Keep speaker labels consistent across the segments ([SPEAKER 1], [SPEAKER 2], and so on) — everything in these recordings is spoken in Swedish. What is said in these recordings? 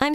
[SPEAKER 1] I'm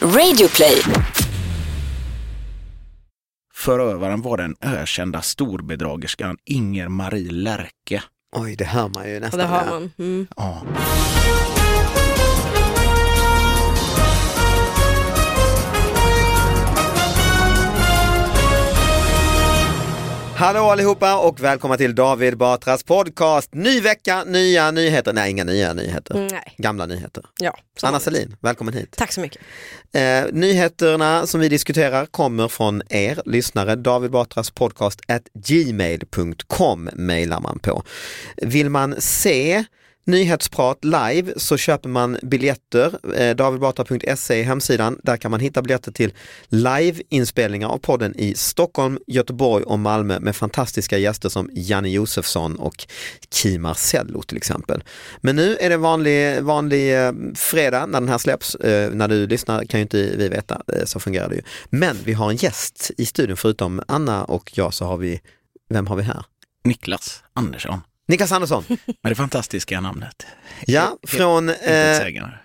[SPEAKER 2] Radioplay.
[SPEAKER 3] Förövaren var den ökända storbedragerskan Inger-Marie Lerke.
[SPEAKER 4] Oj, det hör man ju
[SPEAKER 5] Ja,
[SPEAKER 4] nästan.
[SPEAKER 5] det har
[SPEAKER 4] ja.
[SPEAKER 5] man. Mm.
[SPEAKER 3] Ja.
[SPEAKER 4] Hallå allihopa och välkomna till David Batras podcast. Ny vecka, nya nyheter. Nej, inga nya nyheter.
[SPEAKER 5] Mm, Nej.
[SPEAKER 4] Gamla nyheter.
[SPEAKER 5] Ja, så-
[SPEAKER 4] Anna Selin, välkommen hit.
[SPEAKER 5] Tack så mycket.
[SPEAKER 4] Eh, nyheterna som vi diskuterar kommer från er lyssnare. David Batras podcast at gmail.com mejlar man på. Vill man se Nyhetsprat live så köper man biljetter. Eh, Davidbatra.se är hemsidan. Där kan man hitta biljetter till liveinspelningar av podden i Stockholm, Göteborg och Malmö med fantastiska gäster som Janne Josefsson och Kim Marcello till exempel. Men nu är det vanlig, vanlig eh, fredag när den här släpps. Eh, När du lyssnar kan ju inte vi veta, eh, så fungerar det ju. Men vi har en gäst i studion förutom Anna och jag så har vi, vem har vi här?
[SPEAKER 3] Niklas Andersson,
[SPEAKER 4] Niklas Andersson,
[SPEAKER 3] med det fantastiska namnet.
[SPEAKER 4] ja, från, eh,
[SPEAKER 3] Intetsägande.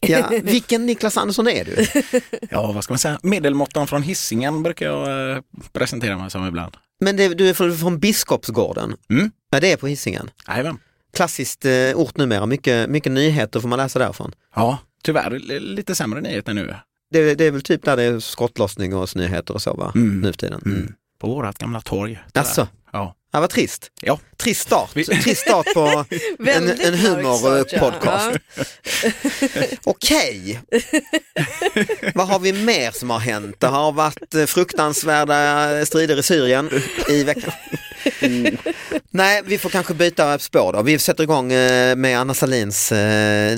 [SPEAKER 4] ja, vilken Niklas Andersson är du?
[SPEAKER 3] Ja, vad ska man säga? Medelmåttan från Hisingen brukar jag eh, presentera mig som ibland.
[SPEAKER 4] Men det, du är från, från Biskopsgården?
[SPEAKER 3] Mm.
[SPEAKER 4] Ja, det är på Hisingen.
[SPEAKER 3] Jajamän.
[SPEAKER 4] Klassiskt eh, ort numera, mycket, mycket nyheter får man läsa därifrån.
[SPEAKER 3] Ja, tyvärr li- lite sämre nyheter nu.
[SPEAKER 4] Det, det är väl typ där det är skottlossning och nyheter och så va,
[SPEAKER 3] Mm.
[SPEAKER 4] nu för tiden.
[SPEAKER 3] Mm. På vårat gamla torg. tyvärr.
[SPEAKER 4] Alltså,
[SPEAKER 3] Ja.
[SPEAKER 4] ja, vad trist.
[SPEAKER 3] Ja.
[SPEAKER 4] Trist start,
[SPEAKER 3] Vi-
[SPEAKER 4] trist start på en,
[SPEAKER 5] Väldigt
[SPEAKER 4] en
[SPEAKER 5] mörk start, ja.
[SPEAKER 4] humorpodcast. Okej, vad har vi mer som har hänt? Det har varit eh, fruktansvärda strider i Syrien i veckan. Nej, vi får kanske byta spår då. Vi sätter igång eh, med Anna Salins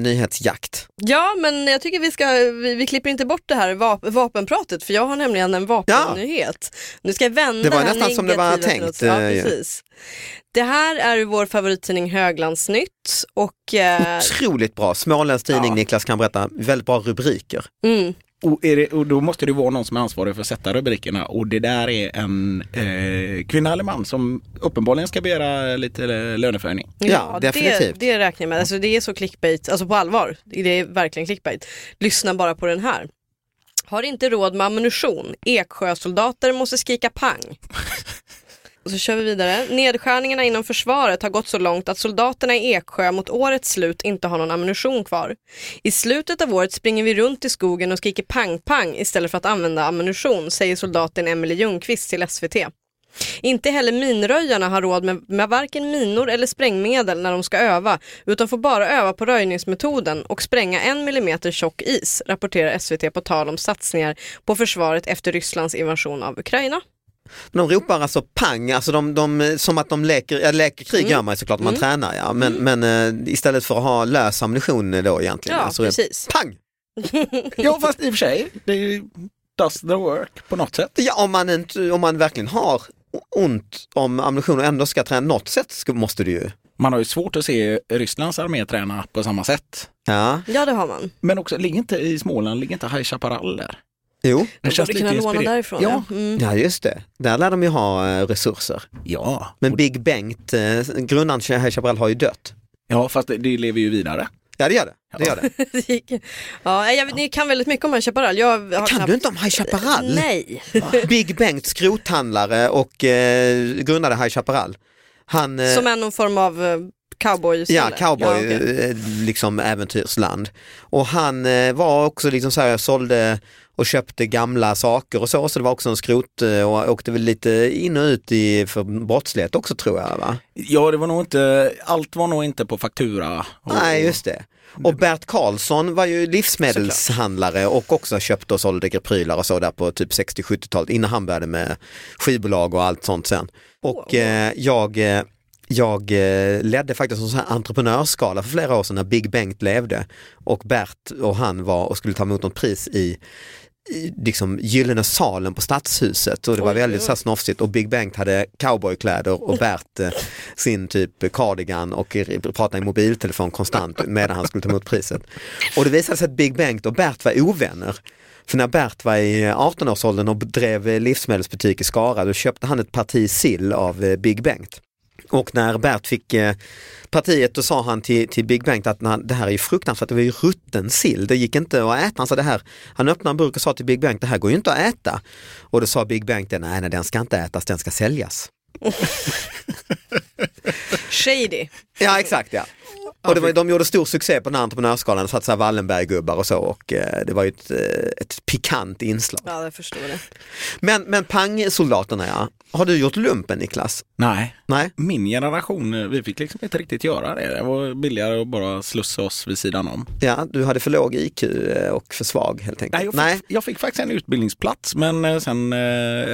[SPEAKER 4] nyhetsjakt.
[SPEAKER 5] Ja, men jag tycker vi ska, vi, vi klipper inte bort det här vap- vapenpratet för jag har nämligen en vapennyhet. Nu ska jag vända
[SPEAKER 4] Det var
[SPEAKER 5] här
[SPEAKER 4] nästan som det var
[SPEAKER 5] negativa
[SPEAKER 4] tänkt,
[SPEAKER 5] till något-
[SPEAKER 4] eh,
[SPEAKER 5] Ja, precis. Det här är vår favorittidning Höglandsnytt och eh,
[SPEAKER 4] Otroligt bra, småländsk tidning Niklas kan berätta, väldigt bra rubriker.
[SPEAKER 5] mm,
[SPEAKER 3] Och, är det, och då måste det vara någon som är ansvarig för att sätta rubrikerna och det där är en eh, kvinna eller man som uppenbarligen ska begära lite eh, löneförhöjning.
[SPEAKER 4] Ja, definitivt.
[SPEAKER 5] Det, det räknar jag med. Alltså, det är så clickbait, alltså på allvar. Det är verkligen clickbait. Lyssna bara på den här. Har inte råd med ammunition. Eksjösoldater måste skrika pang. Och så kör vi vidare. Nedskärningarna inom försvaret har gått så långt att soldaterna i Eksjö mot årets slut inte har någon ammunition kvar. I slutet av året springer vi runt i skogen och skriker pang-pang istället för att använda ammunition, säger soldaten Emelie Ljungqvist till SVT. Inte heller minröjarna har råd med, med varken minor eller sprängmedel när de ska öva utan får bara öva på röjningsmetoden och spränga en millimeter tjock is, rapporterar SVT på tal om satsningar på försvaret efter Rysslands invasion av Ukraina.
[SPEAKER 4] De ropar alltså pang, alltså de, de, som att de leker, ja, leker
[SPEAKER 5] Mm.
[SPEAKER 4] krig gör man ju såklart när man tränar ja, men, men eh, istället för att ha lös ammunition då egentligen.
[SPEAKER 5] Ja,
[SPEAKER 4] alltså,
[SPEAKER 5] precis.
[SPEAKER 4] Pang!
[SPEAKER 3] Ja fast i och för sig, det är ju does the work på något sätt.
[SPEAKER 4] Ja, om, man inte, om man verkligen har o- ont om ammunition och ändå ska träna något sätt ska, måste du ju
[SPEAKER 3] Man har ju svårt att se Rysslands armé träna på samma sätt.
[SPEAKER 4] Ja,
[SPEAKER 5] ja det har man.
[SPEAKER 3] Men också, ligger inte i Småland, ligger inte High Chaparral där?
[SPEAKER 4] Jo.
[SPEAKER 5] De borde kunna låna
[SPEAKER 3] inspirerande.
[SPEAKER 5] därifrån.
[SPEAKER 3] Ja.
[SPEAKER 5] Ja. Mm.
[SPEAKER 4] Ja just det, där lär de ju ha eh, resurser.
[SPEAKER 3] Ja.
[SPEAKER 4] Men Big Bengt, eh, grundaren till High Chaparral har ju dött.
[SPEAKER 3] ja, fast det, det lever ju vidare.
[SPEAKER 4] Ja det gör det. det, gör det.
[SPEAKER 5] Det gick- ja, jag, vet- ni kan väldigt mycket om High Chaparral. Jag har
[SPEAKER 4] Kan
[SPEAKER 5] knappt...
[SPEAKER 4] du inte om High Chaparral?
[SPEAKER 5] Nej.
[SPEAKER 4] Big Bengt, skrothandlare och eh, grundade High Chaparral. Han, eh,
[SPEAKER 5] Som är någon form av eh, cowboy?
[SPEAKER 4] Ja,
[SPEAKER 5] eller?
[SPEAKER 4] cowboy,
[SPEAKER 5] okej.
[SPEAKER 4] eh, liksom äventyrsland. Och han eh, var också liksom så här, sålde och köpte gamla saker och så, så det var också en skrot eh, och åkte väl lite in och ut i, för brottslighet också tror jag va?
[SPEAKER 3] Ja, det var nog inte, allt var nog inte på faktura. Och,
[SPEAKER 4] Nej, just det. Och Bert Karlsson var ju livsmedelshandlare och också köpte och sålde prylar och så där på typ 60-70-talet innan han började med skivbolag och allt sånt sen. Och eh, jag, eh, jag eh, ledde faktiskt en sån här entreprenörsskala för flera år sedan när Big Bengt levde och Bert och han var och skulle ta emot något pris i i liksom gyllene salen på stadshuset och det var väldigt så här snofsigt och Big Bengt hade cowboykläder och Bert eh, sin typ cardigan och r- pratade i mobiltelefon konstant medan han skulle ta emot priset. Och det visade sig att Big Bengt och Bert var ovänner. För när Bert var i 18-årsåldern och drev eh, livsmedelsbutik i Skara då köpte han ett parti sill av eh, Big Bengt. Och när Bert fick eh, partiet då sa han till, till Big Bengt att "Nej, det här är ju fruktansvärt, det var ju rutten sill, det gick inte att äta. Han, sa, det här. han öppnade en burk och sa till Big Bengt, det här går ju inte att äta. Och då sa Big Bengt, nej, nej den ska inte ätas, den ska säljas.
[SPEAKER 5] Shady.
[SPEAKER 4] Ja exakt ja. Och det var, de gjorde stor succé på den här entreprenörsskalan, satt så här Wallenberggubbar och så och eh, det var ju ett, eh, ett pikant inslag.
[SPEAKER 5] Ja, jag förstår det.
[SPEAKER 4] Men, men pangsoldaterna ja, har du gjort lumpen Niklas?
[SPEAKER 3] Nej.
[SPEAKER 4] Nej?
[SPEAKER 3] Min generation, eh, vi fick liksom inte riktigt göra det. Det var billigare att bara slussa oss vid sidan om.
[SPEAKER 4] Ja, du hade för låg IQ eh, och för svag helt enkelt.
[SPEAKER 3] Nej, jag fick, Jag fick faktiskt en utbildningsplats men eh, sen eh,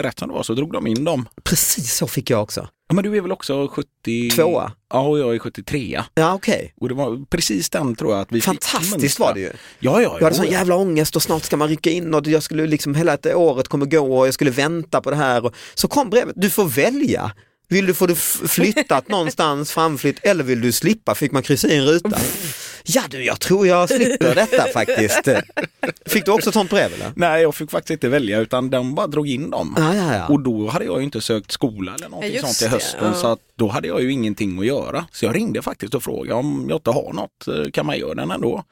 [SPEAKER 3] rätt som det var så drog de in dem.
[SPEAKER 4] precis så fick jag också.
[SPEAKER 3] Ja, men du är väl också 70...
[SPEAKER 4] Tvåa?
[SPEAKER 3] Ja, och jag är 73
[SPEAKER 4] Ja okej.
[SPEAKER 3] och det var precis den tror jag att vi fick
[SPEAKER 4] Fantastiskt
[SPEAKER 3] mönstra.
[SPEAKER 4] var det ju.
[SPEAKER 3] Ja, ja,
[SPEAKER 4] Jag hade
[SPEAKER 3] jo,
[SPEAKER 4] sån
[SPEAKER 3] ja.
[SPEAKER 4] jävla ångest och snart ska man rycka in och jag skulle liksom hela det året kommer gå och jag skulle vänta på det här. Och så kom brevet, du får välja. Vill du få det f- flyttat någonstans, framflytt eller vill du slippa? Fick man kryssa i en ruta? Ja du, jag tror jag slipper detta faktiskt. Fick du också ett sånt brev eller?
[SPEAKER 3] Nej, jag fick faktiskt inte välja utan den bara drog in dem.
[SPEAKER 4] Ja, ja, ja.
[SPEAKER 3] Och då hade jag ju inte sökt skola eller någonting
[SPEAKER 5] Ja, just
[SPEAKER 3] sånt till
[SPEAKER 5] det,
[SPEAKER 3] hösten
[SPEAKER 5] ja.
[SPEAKER 3] så att då hade jag ju ingenting att göra. Så jag ringde faktiskt och frågade om jag inte har något, eh, kan man göra den ändå?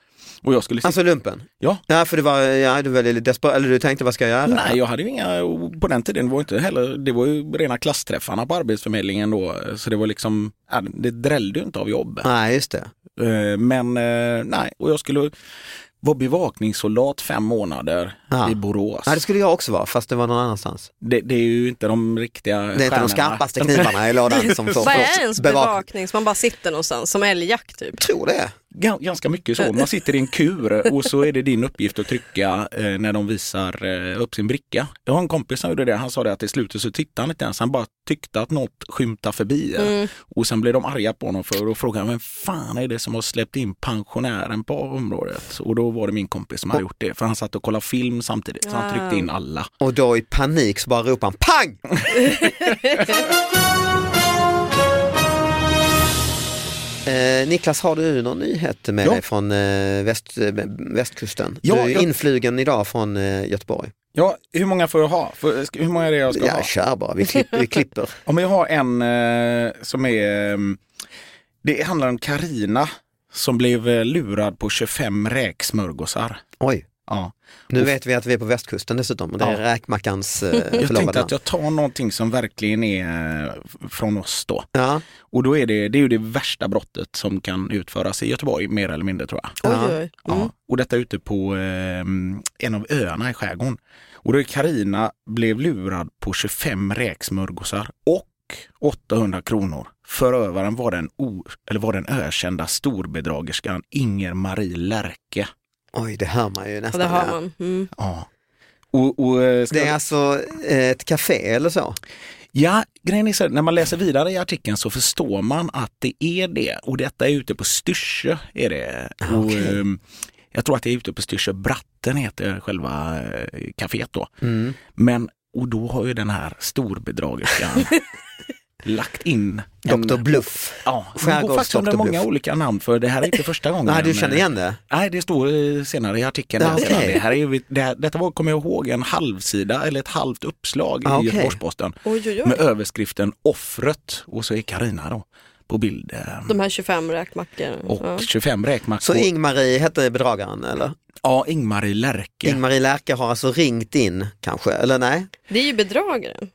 [SPEAKER 3] Och jag skulle...
[SPEAKER 4] Alltså lumpen?
[SPEAKER 3] ja.
[SPEAKER 4] Ja, för det var, ja, du var lite desperat, eller du tänkte vad ska jag göra?
[SPEAKER 3] Nej, jag hade ju inga, och på den tiden var inte heller, det var ju rena klassträffarna på Arbetsförmedlingen då, så det var liksom, ja, det drällde ju inte av jobb.
[SPEAKER 4] Nej, just det.
[SPEAKER 3] Eh, Men eh, nej, och jag skulle vara bevakningssoldat fem månader
[SPEAKER 4] Ja.
[SPEAKER 3] i Borås.
[SPEAKER 4] Nej, det skulle jag också vara, fast det var någon annanstans.
[SPEAKER 3] Det, det är ju inte de riktiga
[SPEAKER 4] Det är inte de skarpaste knivarna i lådan som får
[SPEAKER 5] Vad är ens
[SPEAKER 4] bevakning.
[SPEAKER 5] bevakning? Så man bara sitter någonstans, som älgjakt typ?
[SPEAKER 4] tror det.
[SPEAKER 3] Ga- Ganska mycket så. Man sitter i en kur och så är det din uppgift att trycka eh, när de visar eh, upp sin bricka. Jag har en kompis som gjorde det. Han sa det att i slutet så tittade han inte ens. Han bara tyckte att något skymtade förbi. Och sen blev de arga på honom för och frågade vem fan är det som har släppt in pensionären på området? Och då var det min kompis som hade gjort det. För han satt och kollade film samtidigt. Så han tryckte in alla.
[SPEAKER 4] Och då i panik så bara ropar han pang! Eh, Niklas, har du någon nyhet med
[SPEAKER 3] Ja.
[SPEAKER 4] dig från eh, väst, eh, västkusten?
[SPEAKER 3] Ja,
[SPEAKER 4] du är
[SPEAKER 3] jag-
[SPEAKER 4] influgen idag från eh, Göteborg.
[SPEAKER 3] Ja, hur många får jag ha? Får- ska- Hur många är det jag ska ha?
[SPEAKER 4] Ja, kör bara, vi, klipp, vi klipper.
[SPEAKER 3] Om jag har en eh, som är, eh, det handlar om Karina som blev eh, lurad på 25 räksmörgåsar.
[SPEAKER 4] Oj,
[SPEAKER 3] Ja.
[SPEAKER 4] nu vet vi att vi är på västkusten dessutom och det är
[SPEAKER 3] Ja.
[SPEAKER 4] räkmackans eh,
[SPEAKER 3] Jag
[SPEAKER 4] förlovade
[SPEAKER 3] tänkte
[SPEAKER 4] land.
[SPEAKER 3] att jag tar någonting som verkligen är eh, från oss då.
[SPEAKER 4] Ja,
[SPEAKER 3] Och då är det, det är ju det värsta brottet som kan utföras i Göteborg mer eller mindre tror jag.
[SPEAKER 4] Ja.
[SPEAKER 5] Oj, oj.
[SPEAKER 3] Ja. Och detta ute på eh, en av öarna i skärgården. Och då är Karina blev lurad på 25 räksmörgåsar och 800 kronor. Förövaren var den, o, eller var den ökända storbedragerskan Inger-Marie Lärke.
[SPEAKER 4] oj det hör man ju
[SPEAKER 5] Ja,
[SPEAKER 4] nästan.
[SPEAKER 5] det har
[SPEAKER 4] ja.
[SPEAKER 5] man. Mm.
[SPEAKER 3] Ja. Och, och, eh, ska
[SPEAKER 4] Det är
[SPEAKER 3] jag-
[SPEAKER 4] alltså eh, ett café eller så?
[SPEAKER 3] Ja, grejen är så här, när man läser vidare i artikeln så förstår man att det är det. Och detta är ute på Styrsö. Är det. Och,
[SPEAKER 4] okej.
[SPEAKER 3] ehm, jag tror att det är ute på Styrsö Bratten heter själva
[SPEAKER 4] Mm.
[SPEAKER 3] eh, kaféet då. Men, och då har ju den här storbedragerskan lagt in
[SPEAKER 4] Dr. Bluff.
[SPEAKER 3] Ja, det går faktiskt under
[SPEAKER 4] Dr.
[SPEAKER 3] många
[SPEAKER 4] Bluff.
[SPEAKER 3] olika namn för det här är inte första gången. eh,
[SPEAKER 4] Nej, du känner igen det?
[SPEAKER 3] Nej, det står eh, senare i artikeln.
[SPEAKER 4] Ja,
[SPEAKER 3] här sedan.
[SPEAKER 4] okej.
[SPEAKER 3] Det här är, ju- det här, detta var, kommer jag ihåg, en halvsida eller ett halvt uppslag
[SPEAKER 4] Ja,
[SPEAKER 3] i
[SPEAKER 4] okej.
[SPEAKER 3] Göteborgs-Posten
[SPEAKER 5] Oj, oj, oj.
[SPEAKER 3] med överskriften Offret och så är Karina då på bild eh,
[SPEAKER 5] De här 25 räkmackor.
[SPEAKER 3] och
[SPEAKER 5] Ja.
[SPEAKER 3] 25 räkmackor.
[SPEAKER 4] Så Ingmarie hette bedragaren eller?
[SPEAKER 3] Ja, Ingmarie Lärke.
[SPEAKER 4] Ingmarie Lärke har alltså ringt in kanske, eller nej?
[SPEAKER 5] Det är ju bedragaren.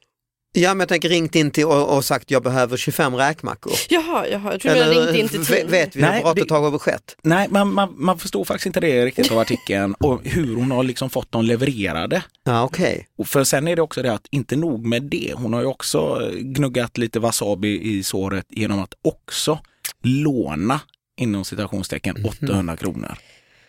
[SPEAKER 4] Ja men jag tänker ringt in till och, och sagt jag behöver 25 räkmackor.
[SPEAKER 5] Jaha, jaha. jag tror du menade
[SPEAKER 4] Eller,
[SPEAKER 5] ringde in till
[SPEAKER 4] v-
[SPEAKER 5] tidningen.
[SPEAKER 4] Vet vi hur
[SPEAKER 3] Nej,
[SPEAKER 4] brottet
[SPEAKER 3] det-
[SPEAKER 4] har skett?
[SPEAKER 3] Nej, man, man, man förstår faktiskt inte det riktigt av artikeln och hur hon har liksom fått dem levererade.
[SPEAKER 4] Ja okej.
[SPEAKER 3] Och för sen är det också det att inte nog med det, hon har ju också eh, gnuggat lite wasabi i såret genom att också låna inom citationstecken 800 kronor.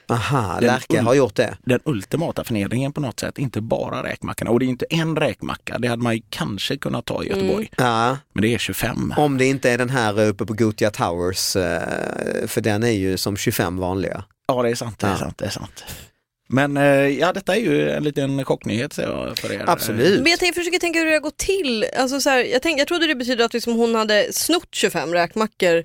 [SPEAKER 4] Aha,
[SPEAKER 3] Den
[SPEAKER 4] Lärke
[SPEAKER 3] ul-
[SPEAKER 4] har gjort det.
[SPEAKER 3] Den ultimata förnedringen på något sätt, inte bara räkmackorna. Och det är inte en räkmacka, det hade man ju kanske kunnat ta i Göteborg.
[SPEAKER 4] Ja,
[SPEAKER 3] Men det är 25.
[SPEAKER 4] om det inte är den här eh, uppe på Gothia Towers, eh, för den är ju som 25 vanliga.
[SPEAKER 3] Ja, det är sant, det är
[SPEAKER 4] Ja.
[SPEAKER 3] sant, det är sant. Men eh, ja, detta är ju en liten chocknyhet säger jag för er.
[SPEAKER 4] Absolut.
[SPEAKER 5] Men jag tänker, försöker tänka hur det har gått till. Alltså, så här, jag, tänk, jag trodde det betyder att liksom, hon hade snott 25 räkmackor.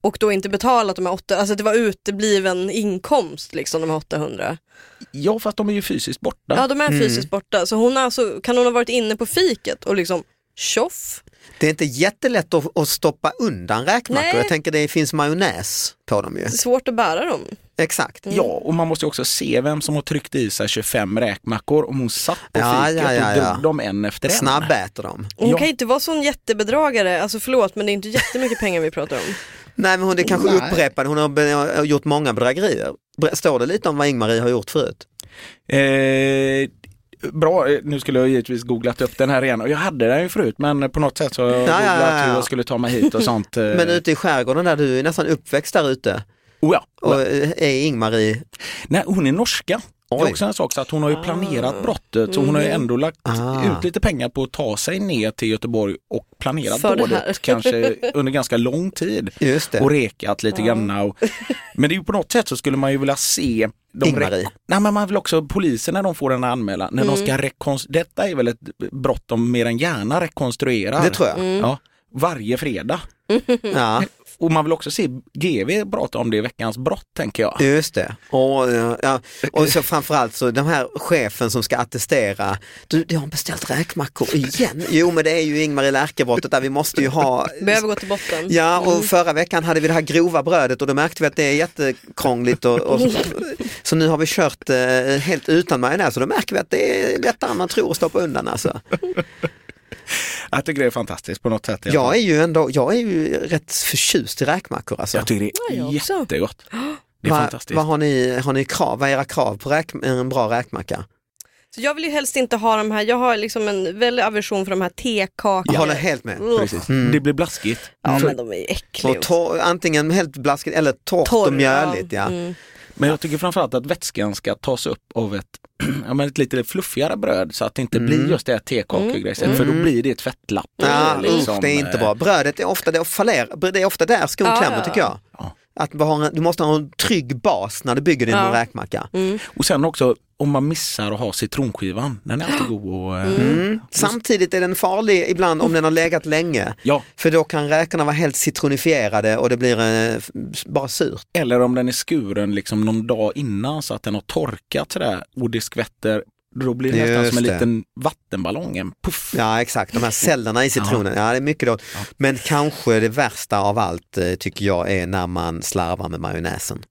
[SPEAKER 5] Och då inte betalat de här 800, alltså det var utebliven inkomst liksom de här 800.
[SPEAKER 3] Ja, fast de är ju fysiskt borta.
[SPEAKER 5] Ja de
[SPEAKER 4] Mm.
[SPEAKER 5] är fysiskt borta, så hon har alltså, kan hon ha varit inne på fiket och liksom tjoff?
[SPEAKER 4] Det är inte jättelätt att, att stoppa undan räkmackor.
[SPEAKER 5] Nej.
[SPEAKER 4] Jag tänker det finns majonnäs på dem ju.
[SPEAKER 5] Det är svårt att bära dem.
[SPEAKER 4] Exakt.
[SPEAKER 3] Ja, och man måste ju också se vem som har tryckt i sig 25 räkmackor om hon satt på
[SPEAKER 4] Ja,
[SPEAKER 3] fiket
[SPEAKER 4] ja, ja,
[SPEAKER 3] och
[SPEAKER 4] ja.
[SPEAKER 3] drog dem en efter en.
[SPEAKER 4] Snabbäter dem.
[SPEAKER 5] Och Hon
[SPEAKER 3] Ja.
[SPEAKER 5] kan ju inte vara sån jättebedragare, alltså förlåt men det är inte jättemycket pengar vi pratar om.
[SPEAKER 4] Nej men hon det är kanske
[SPEAKER 3] Nej.
[SPEAKER 4] upprepade, hon har be- gjort många bedrägerier. Bre- Står det lite om vad Ingmarie har gjort förut?
[SPEAKER 3] Eh, bra, eh, nu skulle jag givetvis googlat upp den här igen och jag hade den ju förut men på något sätt så har jag
[SPEAKER 4] Ja, ja,
[SPEAKER 3] googlat
[SPEAKER 4] ja, ja.
[SPEAKER 3] hur jag skulle ta mig hit och sånt. eh.
[SPEAKER 4] Men ute i skärgården där du är nästan uppväxt där ute
[SPEAKER 3] oh, ja.
[SPEAKER 4] och eh, är Ingmarie,
[SPEAKER 3] Nej, hon är norska. Det
[SPEAKER 4] Oj.
[SPEAKER 3] är också en sak så att hon har ju planerat brottet så hon har ju ändå lagt
[SPEAKER 4] Ah.
[SPEAKER 3] ut lite pengar på att ta sig ner till Göteborg och planerat
[SPEAKER 5] För det här.
[SPEAKER 3] dådet kanske under ganska lång tid.
[SPEAKER 4] just det.
[SPEAKER 3] och rekat lite grann. Och, men det är ju på något sätt så skulle man ju vilja se de
[SPEAKER 4] Ing-Marie. Mm.
[SPEAKER 3] re- Nej men man vill också, polisen när de får den här anmälan, när de ska rekonstruera, detta är väl ett brott de mer än gärna rekonstruerar.
[SPEAKER 4] Det tror jag.
[SPEAKER 3] Ja, varje fredag.
[SPEAKER 4] Ja,
[SPEAKER 3] Och man vill också se GV prata om det i veckans brott tänker jag.
[SPEAKER 4] just det. Och, eh, ja, och så framförallt så den här chefen som ska attestera, du jag har beställt räkmackor igen. Jo men det är ju Ingmarie Lärke-brottet där vi måste ju ha
[SPEAKER 5] Mm. Behöver gå till botten.
[SPEAKER 4] Ja,
[SPEAKER 3] Mm.
[SPEAKER 4] och förra veckan hade vi det här grova brödet och då märkte vi att det är jättekrångligt. Och, och, så nu har vi kört eh, helt utan majonnäs och då märker vi att det är lättare än man tror att stoppa undan. Alltså.
[SPEAKER 3] Jag tycker det är fantastiskt på något sätt. i alla
[SPEAKER 4] Jag
[SPEAKER 3] fall.
[SPEAKER 4] är ju ändå, jag är ju rätt förtjust i räkmackor. Alltså.
[SPEAKER 3] jag tycker det
[SPEAKER 5] Ja, jag
[SPEAKER 3] är
[SPEAKER 5] också.
[SPEAKER 3] jättegott. Det är
[SPEAKER 4] Va-
[SPEAKER 3] fantastiskt.
[SPEAKER 4] Vad har ni, har ni krav, vad är era krav på räk, en bra räkmacka?
[SPEAKER 5] Så jag vill ju helst inte ha de här, jag har liksom en väldig aversion för de här
[SPEAKER 4] Jag
[SPEAKER 5] tekakorna.
[SPEAKER 4] håller helt med. Mm.
[SPEAKER 5] Ugh.
[SPEAKER 3] Precis. Mm. Det blir blaskigt.
[SPEAKER 5] Ja men de är ju äckliga.
[SPEAKER 4] Och torr, antingen helt blaskigt eller torrt
[SPEAKER 5] Torr,
[SPEAKER 4] och mjöligt. Ja.
[SPEAKER 5] Mm.
[SPEAKER 3] Men jag tycker framförallt att vätskan ska tas upp av ett, ja, men ett lite fluffigare bröd så att det inte blir just det här tekakegrejet för då blir det ett fettlapp.
[SPEAKER 4] Mm. Ja,
[SPEAKER 3] eh,
[SPEAKER 4] usch, det är liksom, inte bra. Brödet är ofta, det faller, det är ofta där skon
[SPEAKER 5] Ja,
[SPEAKER 4] klämmer
[SPEAKER 5] ja,
[SPEAKER 4] tycker jag. Att du, har en, du måste ha en trygg bas när du bygger din räkmacka.
[SPEAKER 5] Mm.
[SPEAKER 3] Och sen också om man missar att ha citronskivan, den är alltid god. Och, eh,
[SPEAKER 4] Mm.
[SPEAKER 5] Mm.
[SPEAKER 4] Samtidigt är den farlig ibland om den har legat länge.
[SPEAKER 3] Ja,
[SPEAKER 4] För då kan räkorna vara helt citronifierade och det blir eh, f- bara surt.
[SPEAKER 3] eller om den är skuren liksom någon dag innan så att den har torkat sådär och det skvätter Då blir det nästan
[SPEAKER 4] Just
[SPEAKER 3] som en
[SPEAKER 4] det.
[SPEAKER 3] liten vattenballong. En puff.
[SPEAKER 4] Ja exakt, de här cellerna i citronen, ja, det är mycket gott. Men kanske det värsta av allt eh, tycker jag är när man slarvar med majonnäsen.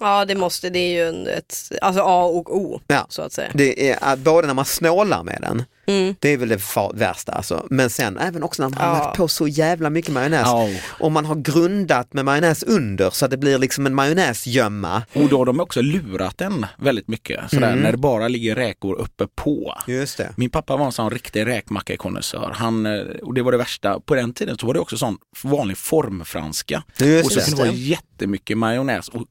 [SPEAKER 5] Ja det måste, det är ju en, ett, alltså A och O
[SPEAKER 4] Ja.
[SPEAKER 5] så att säga.
[SPEAKER 4] Det är, eh, både när man snålar med den,
[SPEAKER 5] Mm.
[SPEAKER 4] det är väl det fa- värsta alltså. Men sen även också när man har
[SPEAKER 5] Ja.
[SPEAKER 4] lagt på så jävla mycket majonnäs. Och man har grundat med majonnäs under så att det blir liksom en majonnäsgömma.
[SPEAKER 3] Och då har de också lurat den väldigt mycket. Sådär,
[SPEAKER 4] Mm.
[SPEAKER 3] När det bara ligger räkor uppe på.
[SPEAKER 4] Just det.
[SPEAKER 3] Min pappa var en sån riktig räkmackakonnässör. Han, eh, och det var det värsta. På den tiden så var det också sån vanlig formfranska.
[SPEAKER 4] Just
[SPEAKER 3] och så
[SPEAKER 4] det.
[SPEAKER 3] kunde det vara jättemycket majonnäs och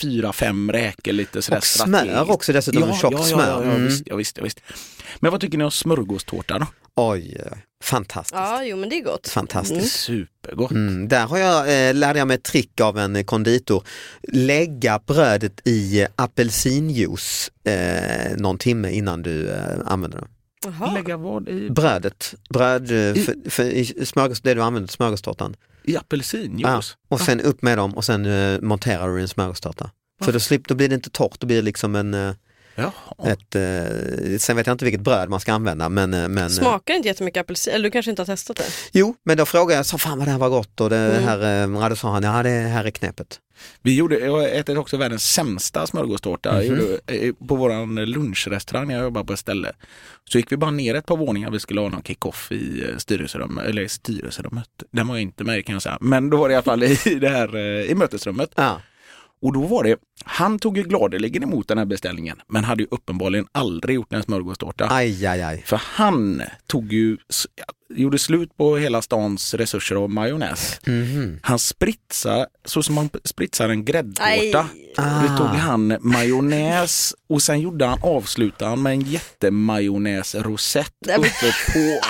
[SPEAKER 3] fyra, fem räkor lite sådär
[SPEAKER 4] Och smör också dessutom,
[SPEAKER 3] ja,
[SPEAKER 4] tjockt
[SPEAKER 3] ja, ja,
[SPEAKER 4] smör.
[SPEAKER 3] Ja, ja,
[SPEAKER 4] Mm.
[SPEAKER 3] visst, ja, visst, ja, visst. Men vad tycker ni om smörgåstårta då?
[SPEAKER 4] Oj, eh, fantastiskt.
[SPEAKER 5] Ja jo men det är gott.
[SPEAKER 4] Fantastiskt.
[SPEAKER 5] Mm.
[SPEAKER 3] Supergott.
[SPEAKER 4] Mm, där har jag, eh, lärde jag mig ett trick av en eh, konditor. Lägga brödet i eh, apelsinjuice eh, någon timme innan du eh, använder det.
[SPEAKER 5] Jaha.
[SPEAKER 3] Lägga vad i,
[SPEAKER 4] Brödet, bröd, eh,
[SPEAKER 3] I-
[SPEAKER 4] för, för, i smörgås, det du använder till smörgåstårtan.
[SPEAKER 3] i apelsinjuice?
[SPEAKER 4] Ja, och sen upp med dem och sen eh, monterar du i en smörgåstårta. För då, slipper, då blir det inte torrt, då blir det liksom en, eh,
[SPEAKER 3] Jaha.
[SPEAKER 4] ett, eh, sen vet jag inte vilket bröd man ska använda men, eh, men eh,
[SPEAKER 5] Smakar inte jättemycket apelsin, eller du kanske inte har testat det?
[SPEAKER 4] jo, men då frågade jag, så fan vad det här var gott och det
[SPEAKER 5] Mm.
[SPEAKER 4] här, eh, ja, då sa han, ja det här är knepet.
[SPEAKER 3] Vi gjorde, jag ätit också världens sämsta smörgåstårta. Jag
[SPEAKER 4] Mhm.
[SPEAKER 3] gjorde, eh, på våran lunchrestaurang när jag jobbade på ett ställe. Så gick vi bara ner ett par våningar, vi skulle ha någon kick-off i eh, styrelserummet, eller i styrelserummet, den var jag inte med i, kan jag säga. Men då var det i alla fall i det här, eh, i mötesrummet.
[SPEAKER 4] Ja.
[SPEAKER 3] Och då var det, han tog ju gladeligen emot den här beställningen, men hade ju uppenbarligen aldrig gjort en smörgåstårta.
[SPEAKER 4] Aj, aj, aj.
[SPEAKER 3] För han tog ju, s- gjorde slut på hela stans resurser av majonnäs.
[SPEAKER 4] Mhm.
[SPEAKER 3] Han spritsar, så som man spritsar en gräddtårta,
[SPEAKER 5] Nej.
[SPEAKER 3] då tog
[SPEAKER 4] Ah.
[SPEAKER 3] han majonnäs och sen gjorde han, avslutade han med en jättemajonnäsrosett
[SPEAKER 5] Nej, men-
[SPEAKER 3] uppe på.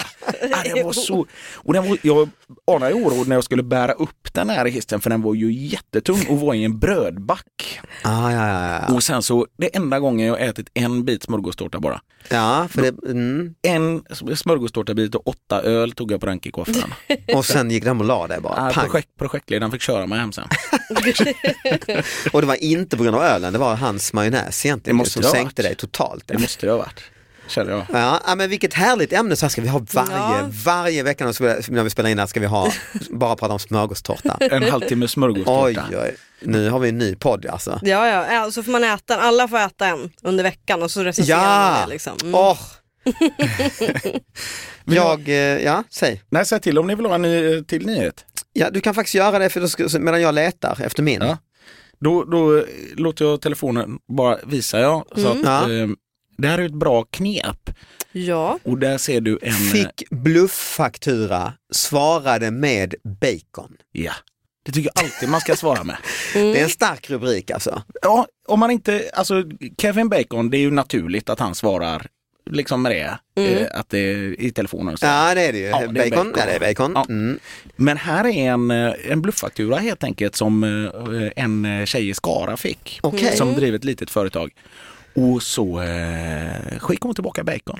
[SPEAKER 3] Ah, det var så, och den var, jag anade ju oråd när jag skulle bära upp den här hissen för den var ju jättetung och var i en brödback.
[SPEAKER 4] Ah, ja, ja, ja.
[SPEAKER 3] Och sen så, det enda gången jag ätit en bit smörgåstårta bara.
[SPEAKER 4] ja, för det, mm.
[SPEAKER 3] En smörgåstårtabit och åtta öl tog jag på den kick-offen.
[SPEAKER 4] och sen gick de och la dig bara.
[SPEAKER 3] Ah,
[SPEAKER 4] pang.
[SPEAKER 3] projekt, projektledaren fick köra mig hem sen.
[SPEAKER 4] Och det var inte på grund av ölen, det var hans majonnäs egentligen
[SPEAKER 3] Det måste
[SPEAKER 4] som
[SPEAKER 3] det ha
[SPEAKER 4] sänkte
[SPEAKER 3] varit.
[SPEAKER 4] dig totalt.
[SPEAKER 3] Det måste det ha varit, känner jag.
[SPEAKER 4] Ja, ja, men vilket härligt ämne, så här ska vi ha varje,
[SPEAKER 5] Ja.
[SPEAKER 4] varje vecka när vi- när vi spelar in här ska vi ha, bara prata om smörgåstårta.
[SPEAKER 3] En halvtimme
[SPEAKER 4] Oj,
[SPEAKER 3] smörgåstårta.
[SPEAKER 4] oj, nu har vi en ny podd alltså.
[SPEAKER 5] Ja ja, så alltså får man äta, den. alla får äta en under veckan och så recenserar man
[SPEAKER 4] Ja,
[SPEAKER 5] det liksom. Mm.
[SPEAKER 4] åh. Jag, eh, ja, säg.
[SPEAKER 3] Nej, säg till om ni vill ha en ny, eh, till nyhet.
[SPEAKER 4] Ja, du kan faktiskt göra det för då ska, medan jag letar efter min.
[SPEAKER 3] Ja. Då, då eh, låter jag telefonen bara visa jag. Så att,
[SPEAKER 4] Mm. Ja.
[SPEAKER 3] eh, det här är ett bra knep
[SPEAKER 5] Ja,
[SPEAKER 3] och där ser du en... eh,
[SPEAKER 4] Fick blufffaktura, svarade med bacon.
[SPEAKER 3] Ja, det tycker jag alltid man ska svara med.
[SPEAKER 4] Det
[SPEAKER 5] Mm.
[SPEAKER 4] är en stark rubrik alltså.
[SPEAKER 3] Ja, om man inte, alltså Kevin Bacon, det är ju naturligt att han svarar liksom med det, eh, att det är i telefonen. och Så.
[SPEAKER 4] Ja det är det ju.
[SPEAKER 3] Ja, det är
[SPEAKER 4] bacon.
[SPEAKER 3] bacon.
[SPEAKER 4] Ja, det är bacon.
[SPEAKER 3] Ja.
[SPEAKER 4] Mm.
[SPEAKER 3] Men här är en, eh, en blufffaktura helt enkelt som eh, en eh, tjej i Skara fick.
[SPEAKER 4] Okej.
[SPEAKER 5] Mm.
[SPEAKER 3] Som driver ett litet företag. Och så eh, skickade hon tillbaka bacon.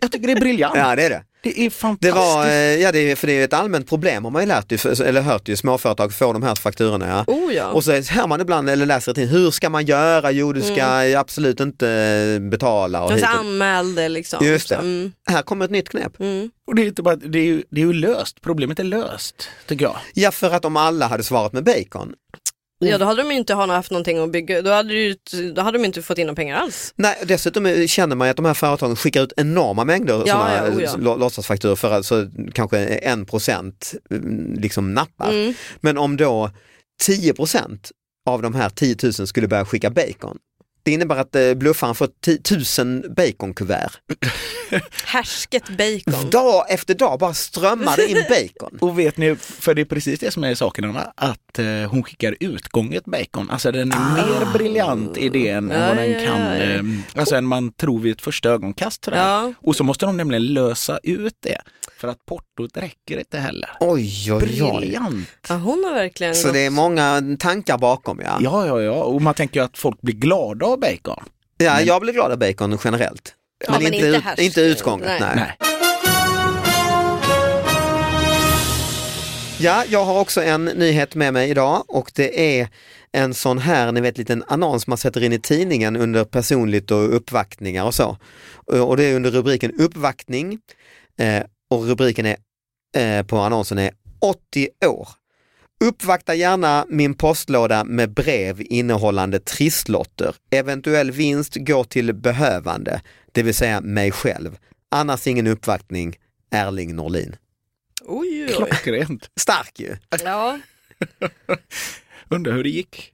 [SPEAKER 3] Jag tycker det är briljant.
[SPEAKER 4] ja det är det.
[SPEAKER 3] Det är fantastiskt.
[SPEAKER 4] Det var, eh, ja det är, för det är ju ett allmänt problem har man ju lärt ju, eller hört ju, småföretag får de här fakturorna ja.
[SPEAKER 5] oh ja.
[SPEAKER 4] Och så hör man ibland, eller läser i tidningen, hur ska man göra? Jo du ska
[SPEAKER 5] Mm.
[SPEAKER 4] absolut inte eh, betala. Och
[SPEAKER 5] Och
[SPEAKER 4] hit
[SPEAKER 5] så
[SPEAKER 4] och-
[SPEAKER 5] anmälde liksom.
[SPEAKER 4] Just det.
[SPEAKER 5] Så, Mm,
[SPEAKER 4] Här kommer ett nytt knep.
[SPEAKER 5] mm.
[SPEAKER 3] Och det, är inte bara, det, är ju, det är ju löst. Problemet är löst, tycker jag.
[SPEAKER 4] Ja för att om alla hade svarat med bacon.
[SPEAKER 5] Ja då hade de ju inte ha- haft någonting att bygga, då hade, det ju, då hade de inte fått in några pengar alls.
[SPEAKER 4] Nej, dessutom eh, känner man ju att de här företagen skickar ut enorma mängder
[SPEAKER 5] Ja,
[SPEAKER 4] sådana
[SPEAKER 5] ja, oh ja.
[SPEAKER 4] eh, lå- låtsasfakturor för alltså, kanske en procent liksom nappar.
[SPEAKER 5] Mm.
[SPEAKER 4] Men om då 10 av de här 10 000 skulle börja skicka bacon, det innebär att eh, bluffaren får 10 000 baconkuvert.
[SPEAKER 5] Härsket bacon.
[SPEAKER 4] Dag efter dag bara strömmar det in bacon.
[SPEAKER 3] Och vet ni, för det är precis det som är saken Anna, att eh, hon skickar utgånget bacon. Alltså den är mer briljant idén än vad
[SPEAKER 5] Ah. Ja,
[SPEAKER 3] den
[SPEAKER 5] ja,
[SPEAKER 3] kan,
[SPEAKER 5] ja, ja.
[SPEAKER 3] Eh, alltså än man tror vid ett första ögonkast. sådär.
[SPEAKER 5] Ja.
[SPEAKER 3] Och så måste de nämligen lösa ut det, för att portot räcker inte heller.
[SPEAKER 4] Oj, oj, oj.
[SPEAKER 3] Briljant!
[SPEAKER 5] Ja, hon har verkligen
[SPEAKER 4] Så det är många tankar bakom ja.
[SPEAKER 3] Ja, ja, ja, och man tänker ju att folk blir glada av bacon.
[SPEAKER 4] Ja, jag blir glad av bacon generellt.
[SPEAKER 5] Ja, men inte
[SPEAKER 4] ut,
[SPEAKER 5] härsk.
[SPEAKER 4] inte utgånget. Nej.
[SPEAKER 5] Nej.
[SPEAKER 3] Nej.
[SPEAKER 4] Ja, jag har också en nyhet med mig idag och det är en sån här, ni vet, liten annons man sätter in i tidningen under personligt och uppvaktningar och så. Och det är under rubriken uppvaktning eh, och rubriken är, eh, på annonsen är 80 år. Uppvakta gärna min postlåda med brev innehållande trisslotter. Eventuell vinst går till behövande, det vill säga mig själv. Annars ingen uppvaktning, Erling Norlin.
[SPEAKER 5] Oj, oj, oj.
[SPEAKER 3] Klockrent.
[SPEAKER 4] Stark ju!
[SPEAKER 5] Ja.
[SPEAKER 3] Undrar hur det gick.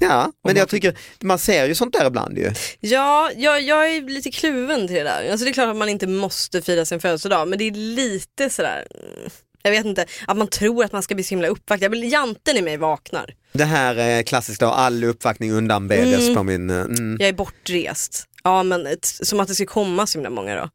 [SPEAKER 4] Ja, men
[SPEAKER 3] man-
[SPEAKER 4] jag tycker, man ser ju sånt där ibland ju.
[SPEAKER 5] Ja, jag, jag är lite kluven till det där. Alltså det är klart att man inte måste fira sin födelsedag men det är lite sådär, mm, jag vet inte, att man tror att man ska bli så himla uppvaktad. Jag vill- Janten i mig vaknar.
[SPEAKER 4] Det här är klassiskt då, all uppvaktning undanbedes
[SPEAKER 5] Mm.
[SPEAKER 4] på min... eh, Mm.
[SPEAKER 5] Jag är bortrest. Ja men ett, som att det ska komma så himla många då.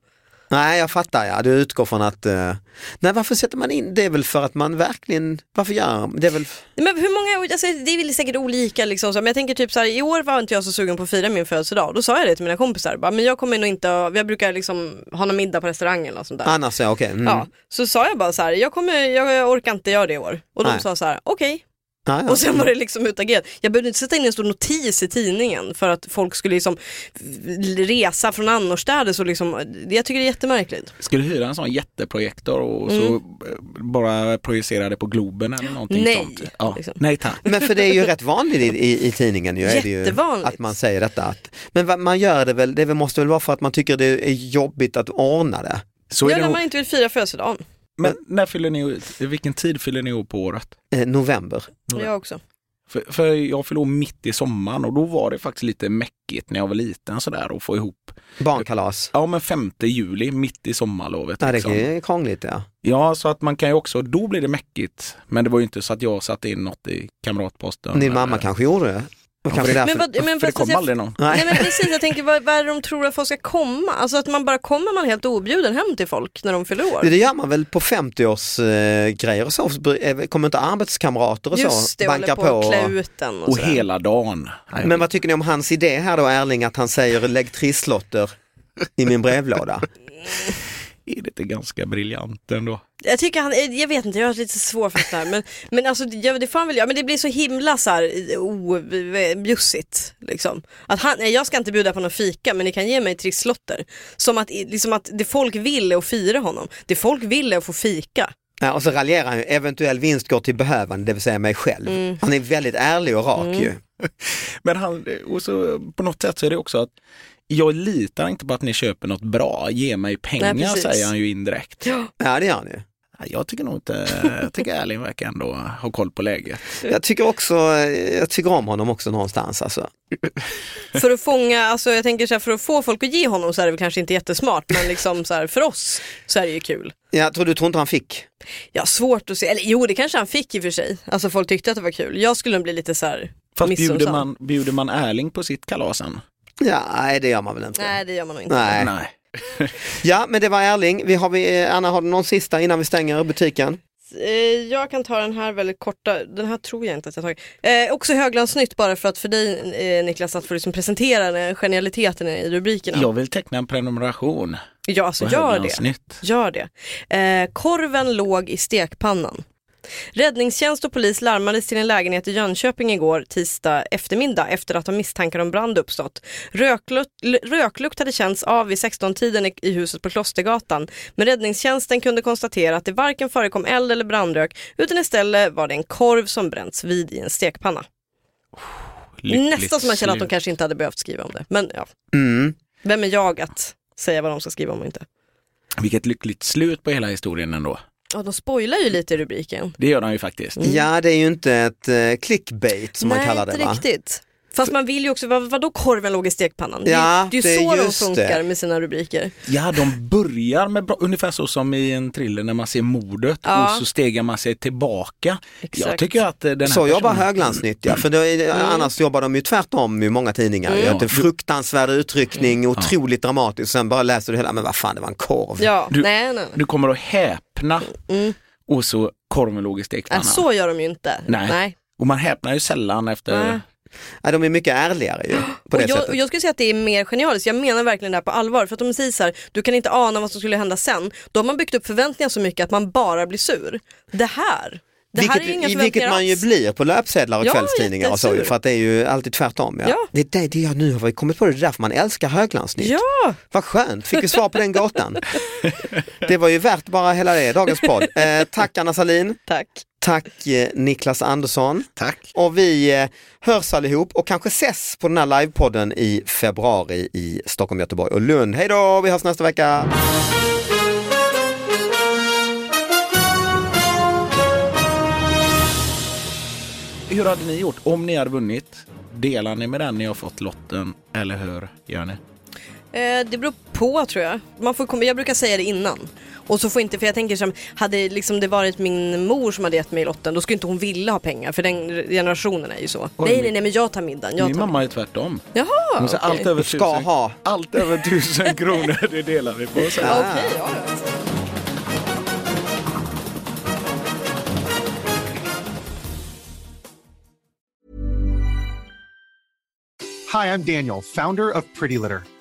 [SPEAKER 4] Nej, jag fattar ja, du utgår från att... eh, Nej, varför sätter man in, det är väl för att man verkligen, varför gör det är väl...
[SPEAKER 5] Men hur många, alltså, det är väl säkert olika liksom, så, men jag tänker typ så här, i år var inte jag så sugen på att fira min födelsedag. Då sa jag det till mina kompisar, bara, men jag kommer nog inte, att- jag brukar liksom ha någon middag på restaurangen eller något sånt där.
[SPEAKER 4] Annars ja, okej. mm.
[SPEAKER 5] Ja, så sa jag bara så här, jag, kommer, jag, jag orkar inte göra det i år. Och de
[SPEAKER 4] Nej.
[SPEAKER 5] sa så här, okej.
[SPEAKER 4] Ja, ja.
[SPEAKER 5] Och sen var det liksom utagerat. Jag behövde inte sätta in en stor notis i tidningen för att folk skulle liksom resa från annorstädes och liksom, jag tycker det är jättemärkligt.
[SPEAKER 3] Skulle hyra en sån jätteprojektor och så eh, bara projicera det på Globen eller någonting
[SPEAKER 5] Nej,
[SPEAKER 3] sånt. Ja. Nej tack.
[SPEAKER 4] Men för det är ju rätt vanligt i, i, i tidningen ju, är det ju
[SPEAKER 5] Jättevanligt.
[SPEAKER 4] att man säger detta. Att, men vad- man gör det väl, det väl- måste väl vara för att man tycker det är jobbigt att ordna det.
[SPEAKER 3] Så är
[SPEAKER 5] ja,
[SPEAKER 3] det
[SPEAKER 5] när
[SPEAKER 3] nog.
[SPEAKER 5] man inte vill fira födelsedagen.
[SPEAKER 3] Men när fyller ni, år- vilken tid fyller ni år på året?
[SPEAKER 4] Eh, november.
[SPEAKER 5] Jag också.
[SPEAKER 3] För, för jag fyllde år mitt i sommaren och då var det faktiskt lite mäckigt när jag var liten sådär att få ihop.
[SPEAKER 4] Barnkalas.
[SPEAKER 3] Ja men 5 juli, mitt i sommarlovet.
[SPEAKER 4] Ja, det
[SPEAKER 3] liksom.
[SPEAKER 4] är krångligt ja.
[SPEAKER 3] Ja, så att man kan ju också, då blir det mäckigt. Men det var ju inte så att jag satte in något i kamratposten.
[SPEAKER 4] Din mamma kanske gjorde det. Och kanske
[SPEAKER 3] det-
[SPEAKER 4] därför...
[SPEAKER 5] Men vad-
[SPEAKER 3] För det
[SPEAKER 5] fast
[SPEAKER 3] kom
[SPEAKER 5] jag-
[SPEAKER 3] aldrig någon.
[SPEAKER 5] Nej.
[SPEAKER 4] Nej.
[SPEAKER 5] men precis, jag tänker vad, vad är det de tror att folk ska komma? Alltså att man bara kommer man helt objuden hem till folk när de fyller år.
[SPEAKER 4] Det gör man väl på 50-årsgrejer eh, grejer och så, Eh, kommer inte arbetskamrater och
[SPEAKER 5] Just
[SPEAKER 4] så
[SPEAKER 5] det, håller
[SPEAKER 4] banka
[SPEAKER 5] på
[SPEAKER 4] på?
[SPEAKER 5] att klä ut den och,
[SPEAKER 3] Och
[SPEAKER 5] sådär.
[SPEAKER 3] hela dagen. Nej,
[SPEAKER 4] Men vad tycker ni om hans idé här då Erling, att han säger lägg trisslotter i min brevlåda?
[SPEAKER 3] Är det inte ganska briljant ändå?
[SPEAKER 5] Jag tycker han, eh, jag vet inte, jag har lite svårt för det här men, men alltså det, det får han väl göra, men det blir så himla så här objussigt liksom. Att han, nej, jag ska inte bjuda på någon fika men ni kan ge mig trisslotter. Som att, i- liksom att det folk vill är att fira honom, det folk vill är att få fika.
[SPEAKER 4] Ja, och så raljerar han ju, eventuell vinst går till behövande, det vill säga mig själv.
[SPEAKER 5] Mm.
[SPEAKER 4] Han är väldigt ärlig och rak ju.
[SPEAKER 3] Men han, och så på något sätt så är det också att jag litar inte på att ni köper något bra, ge mig pengar
[SPEAKER 5] Nej, precis.
[SPEAKER 3] säger han ju indirekt.
[SPEAKER 4] Ja, det gör han ju.
[SPEAKER 3] Nej, Jag tycker nog inte, jag tycker Erling verkar ändå ha koll på läget.
[SPEAKER 4] Jag tycker också, eh, jag tycker om honom också någonstans alltså.
[SPEAKER 5] För att fånga, alltså jag tänker så här, för att få folk att ge honom så är det väl kanske inte jättesmart men liksom så här, för oss så är det ju kul.
[SPEAKER 4] Jag tror du tror inte han fick?
[SPEAKER 5] Ja svårt att se, eller jo det kanske han fick i och för sig, alltså folk tyckte att det var kul. Jag skulle nog bli lite så här
[SPEAKER 3] Fast bjuder
[SPEAKER 5] missunnsam.
[SPEAKER 3] man, bjuder man Erling på sitt kalasen?
[SPEAKER 4] Ja, nej det gör man väl inte.
[SPEAKER 5] Nej det gör man nog inte.
[SPEAKER 4] Nej.
[SPEAKER 3] Nej.
[SPEAKER 4] Ja, men det var Erling. Vi har vi, eh, Anna, har du någon sista innan vi stänger butiken?
[SPEAKER 5] Eh, Jag kan ta den här väldigt korta, den här tror jag inte att jag tagit. Eh, också höglandsnytt bara för att för dig eh, Niklas att få liksom presentera den, genialiteten i rubrikerna.
[SPEAKER 3] Jag vill teckna en prenumeration
[SPEAKER 5] ja alltså
[SPEAKER 3] på
[SPEAKER 5] gör det.
[SPEAKER 3] Höglandsnytt.
[SPEAKER 5] Gör det. Eh, korven låg i stekpannan. Räddningstjänst och polis larmades till en lägenhet i Jönköping igår tisdag eftermiddag efter att de misstankar om brand uppstått. Röklukt, l- röklukt hade känts av vid 16-tiden i- i huset på Klostergatan men räddningstjänsten kunde konstatera att det varken förekom eld eller brandrök utan istället var det en korv som bränts vid i en stekpanna.
[SPEAKER 3] Lyckligt
[SPEAKER 5] Nästan som man känner att de
[SPEAKER 3] slut.
[SPEAKER 5] kanske inte hade behövt skriva om det. Men ja,
[SPEAKER 4] Mm.
[SPEAKER 5] vem är jag att säga vad de ska skriva om och inte?
[SPEAKER 3] Vilket lyckligt slut på hela historien ändå.
[SPEAKER 5] Ja, de spoilar ju lite i rubriken.
[SPEAKER 3] Det gör de ju faktiskt.
[SPEAKER 4] Ja, det är ju inte ett eh, clickbait som
[SPEAKER 5] Mm. Nej,
[SPEAKER 4] man kallar det
[SPEAKER 5] inte
[SPEAKER 4] va?
[SPEAKER 5] riktigt. Fast man vill ju också, vad, vadå korven låg i stekpannan? Det är-
[SPEAKER 4] Ja,
[SPEAKER 5] det är
[SPEAKER 4] det
[SPEAKER 5] ju
[SPEAKER 4] är
[SPEAKER 5] så de
[SPEAKER 4] just
[SPEAKER 5] funkar
[SPEAKER 4] det.
[SPEAKER 5] med sina rubriker.
[SPEAKER 3] Ja, de börjar med bra, ungefär så som i en thriller när man ser mordet
[SPEAKER 5] Ja.
[SPEAKER 3] och så stegar man sig tillbaka.
[SPEAKER 5] Exakt.
[SPEAKER 3] Jag tycker att eh, den här
[SPEAKER 4] Så jobbar
[SPEAKER 3] personen-
[SPEAKER 4] Höglandsnytt ja, för då är
[SPEAKER 5] Mm.
[SPEAKER 4] det, annars jobbar de ju tvärtom i många tidningar. ju, Att det är fruktansvärd
[SPEAKER 5] Mm.
[SPEAKER 4] utryckning, otroligt dramatiskt, sen bara läser du hela, men vad fan det var en korv.
[SPEAKER 5] Ja,
[SPEAKER 3] Du-
[SPEAKER 5] nej, nej, nej.
[SPEAKER 3] Du kommer att häpna och så korven låg i stekpannan.
[SPEAKER 5] Äh, Mm. så gör de ju inte.
[SPEAKER 3] Nej. Och man häpnar ju sällan efter...
[SPEAKER 5] Nej.
[SPEAKER 4] Ja, de är mycket ärligare ju, på
[SPEAKER 5] Och
[SPEAKER 4] det
[SPEAKER 5] jag,
[SPEAKER 4] sättet.
[SPEAKER 5] och jag skulle säga att det är mer genialiskt, jag menar verkligen det här på allvar. För att de säger så här, du kan inte ana vad som skulle hända sen. Då har man byggt upp förväntningar så mycket att man bara blir sur. Det här, Det här
[SPEAKER 4] vilket,
[SPEAKER 5] är ju inga
[SPEAKER 4] i-
[SPEAKER 5] förväntningar
[SPEAKER 4] vilket man ju
[SPEAKER 5] alls.
[SPEAKER 4] blir på löpsedlar och
[SPEAKER 5] Ja,
[SPEAKER 4] kvällstidningar och så,
[SPEAKER 5] jättesur.
[SPEAKER 4] för att det är ju alltid tvärtom. Ja.
[SPEAKER 5] Ja.
[SPEAKER 4] Det, är det, det, ja, nu har vi kommit på det, det är därför man älskar höglandsnytt.
[SPEAKER 5] Ja,
[SPEAKER 4] Vad skönt, fick vi svar på den gåtan. Det var ju värt bara hela det, dagens podd. Eh, tack Anna Salin.
[SPEAKER 5] Tack.
[SPEAKER 4] Tack eh, Niklas Andersson.
[SPEAKER 6] Tack.
[SPEAKER 4] Och vi eh, hörs allihop och kanske ses på den här livepodden i februari i Stockholm, Göteborg och Lund. Hej då, vi hörs nästa vecka.
[SPEAKER 6] Hur hade ni gjort om ni hade vunnit? Delar ni med den ni har fått lotten eller hur gör ni?
[SPEAKER 5] Eh, det beror på tror jag. Man får komma, jag brukar säga det innan. Och så får inte, för jag tänker som, hade liksom det varit min mor som hade gett mig lotten, då skulle inte hon vilja ha pengar, för den generationen är ju så.
[SPEAKER 6] Oj,
[SPEAKER 5] nej,
[SPEAKER 6] min-
[SPEAKER 5] nej, nej, men jag tar middagen. Jag
[SPEAKER 6] Min
[SPEAKER 5] tar
[SPEAKER 6] mamma är tvärtom.
[SPEAKER 5] Jaha,
[SPEAKER 6] Hon säger
[SPEAKER 5] okej.
[SPEAKER 6] allt över
[SPEAKER 4] Ska
[SPEAKER 6] tusen,
[SPEAKER 4] ha.
[SPEAKER 6] Allt över tusen kronor, det delar vi på. Så.
[SPEAKER 5] Ja, Okej, ja. ja.
[SPEAKER 7] Hi, I'm Daniel, founder of Pretty Litter.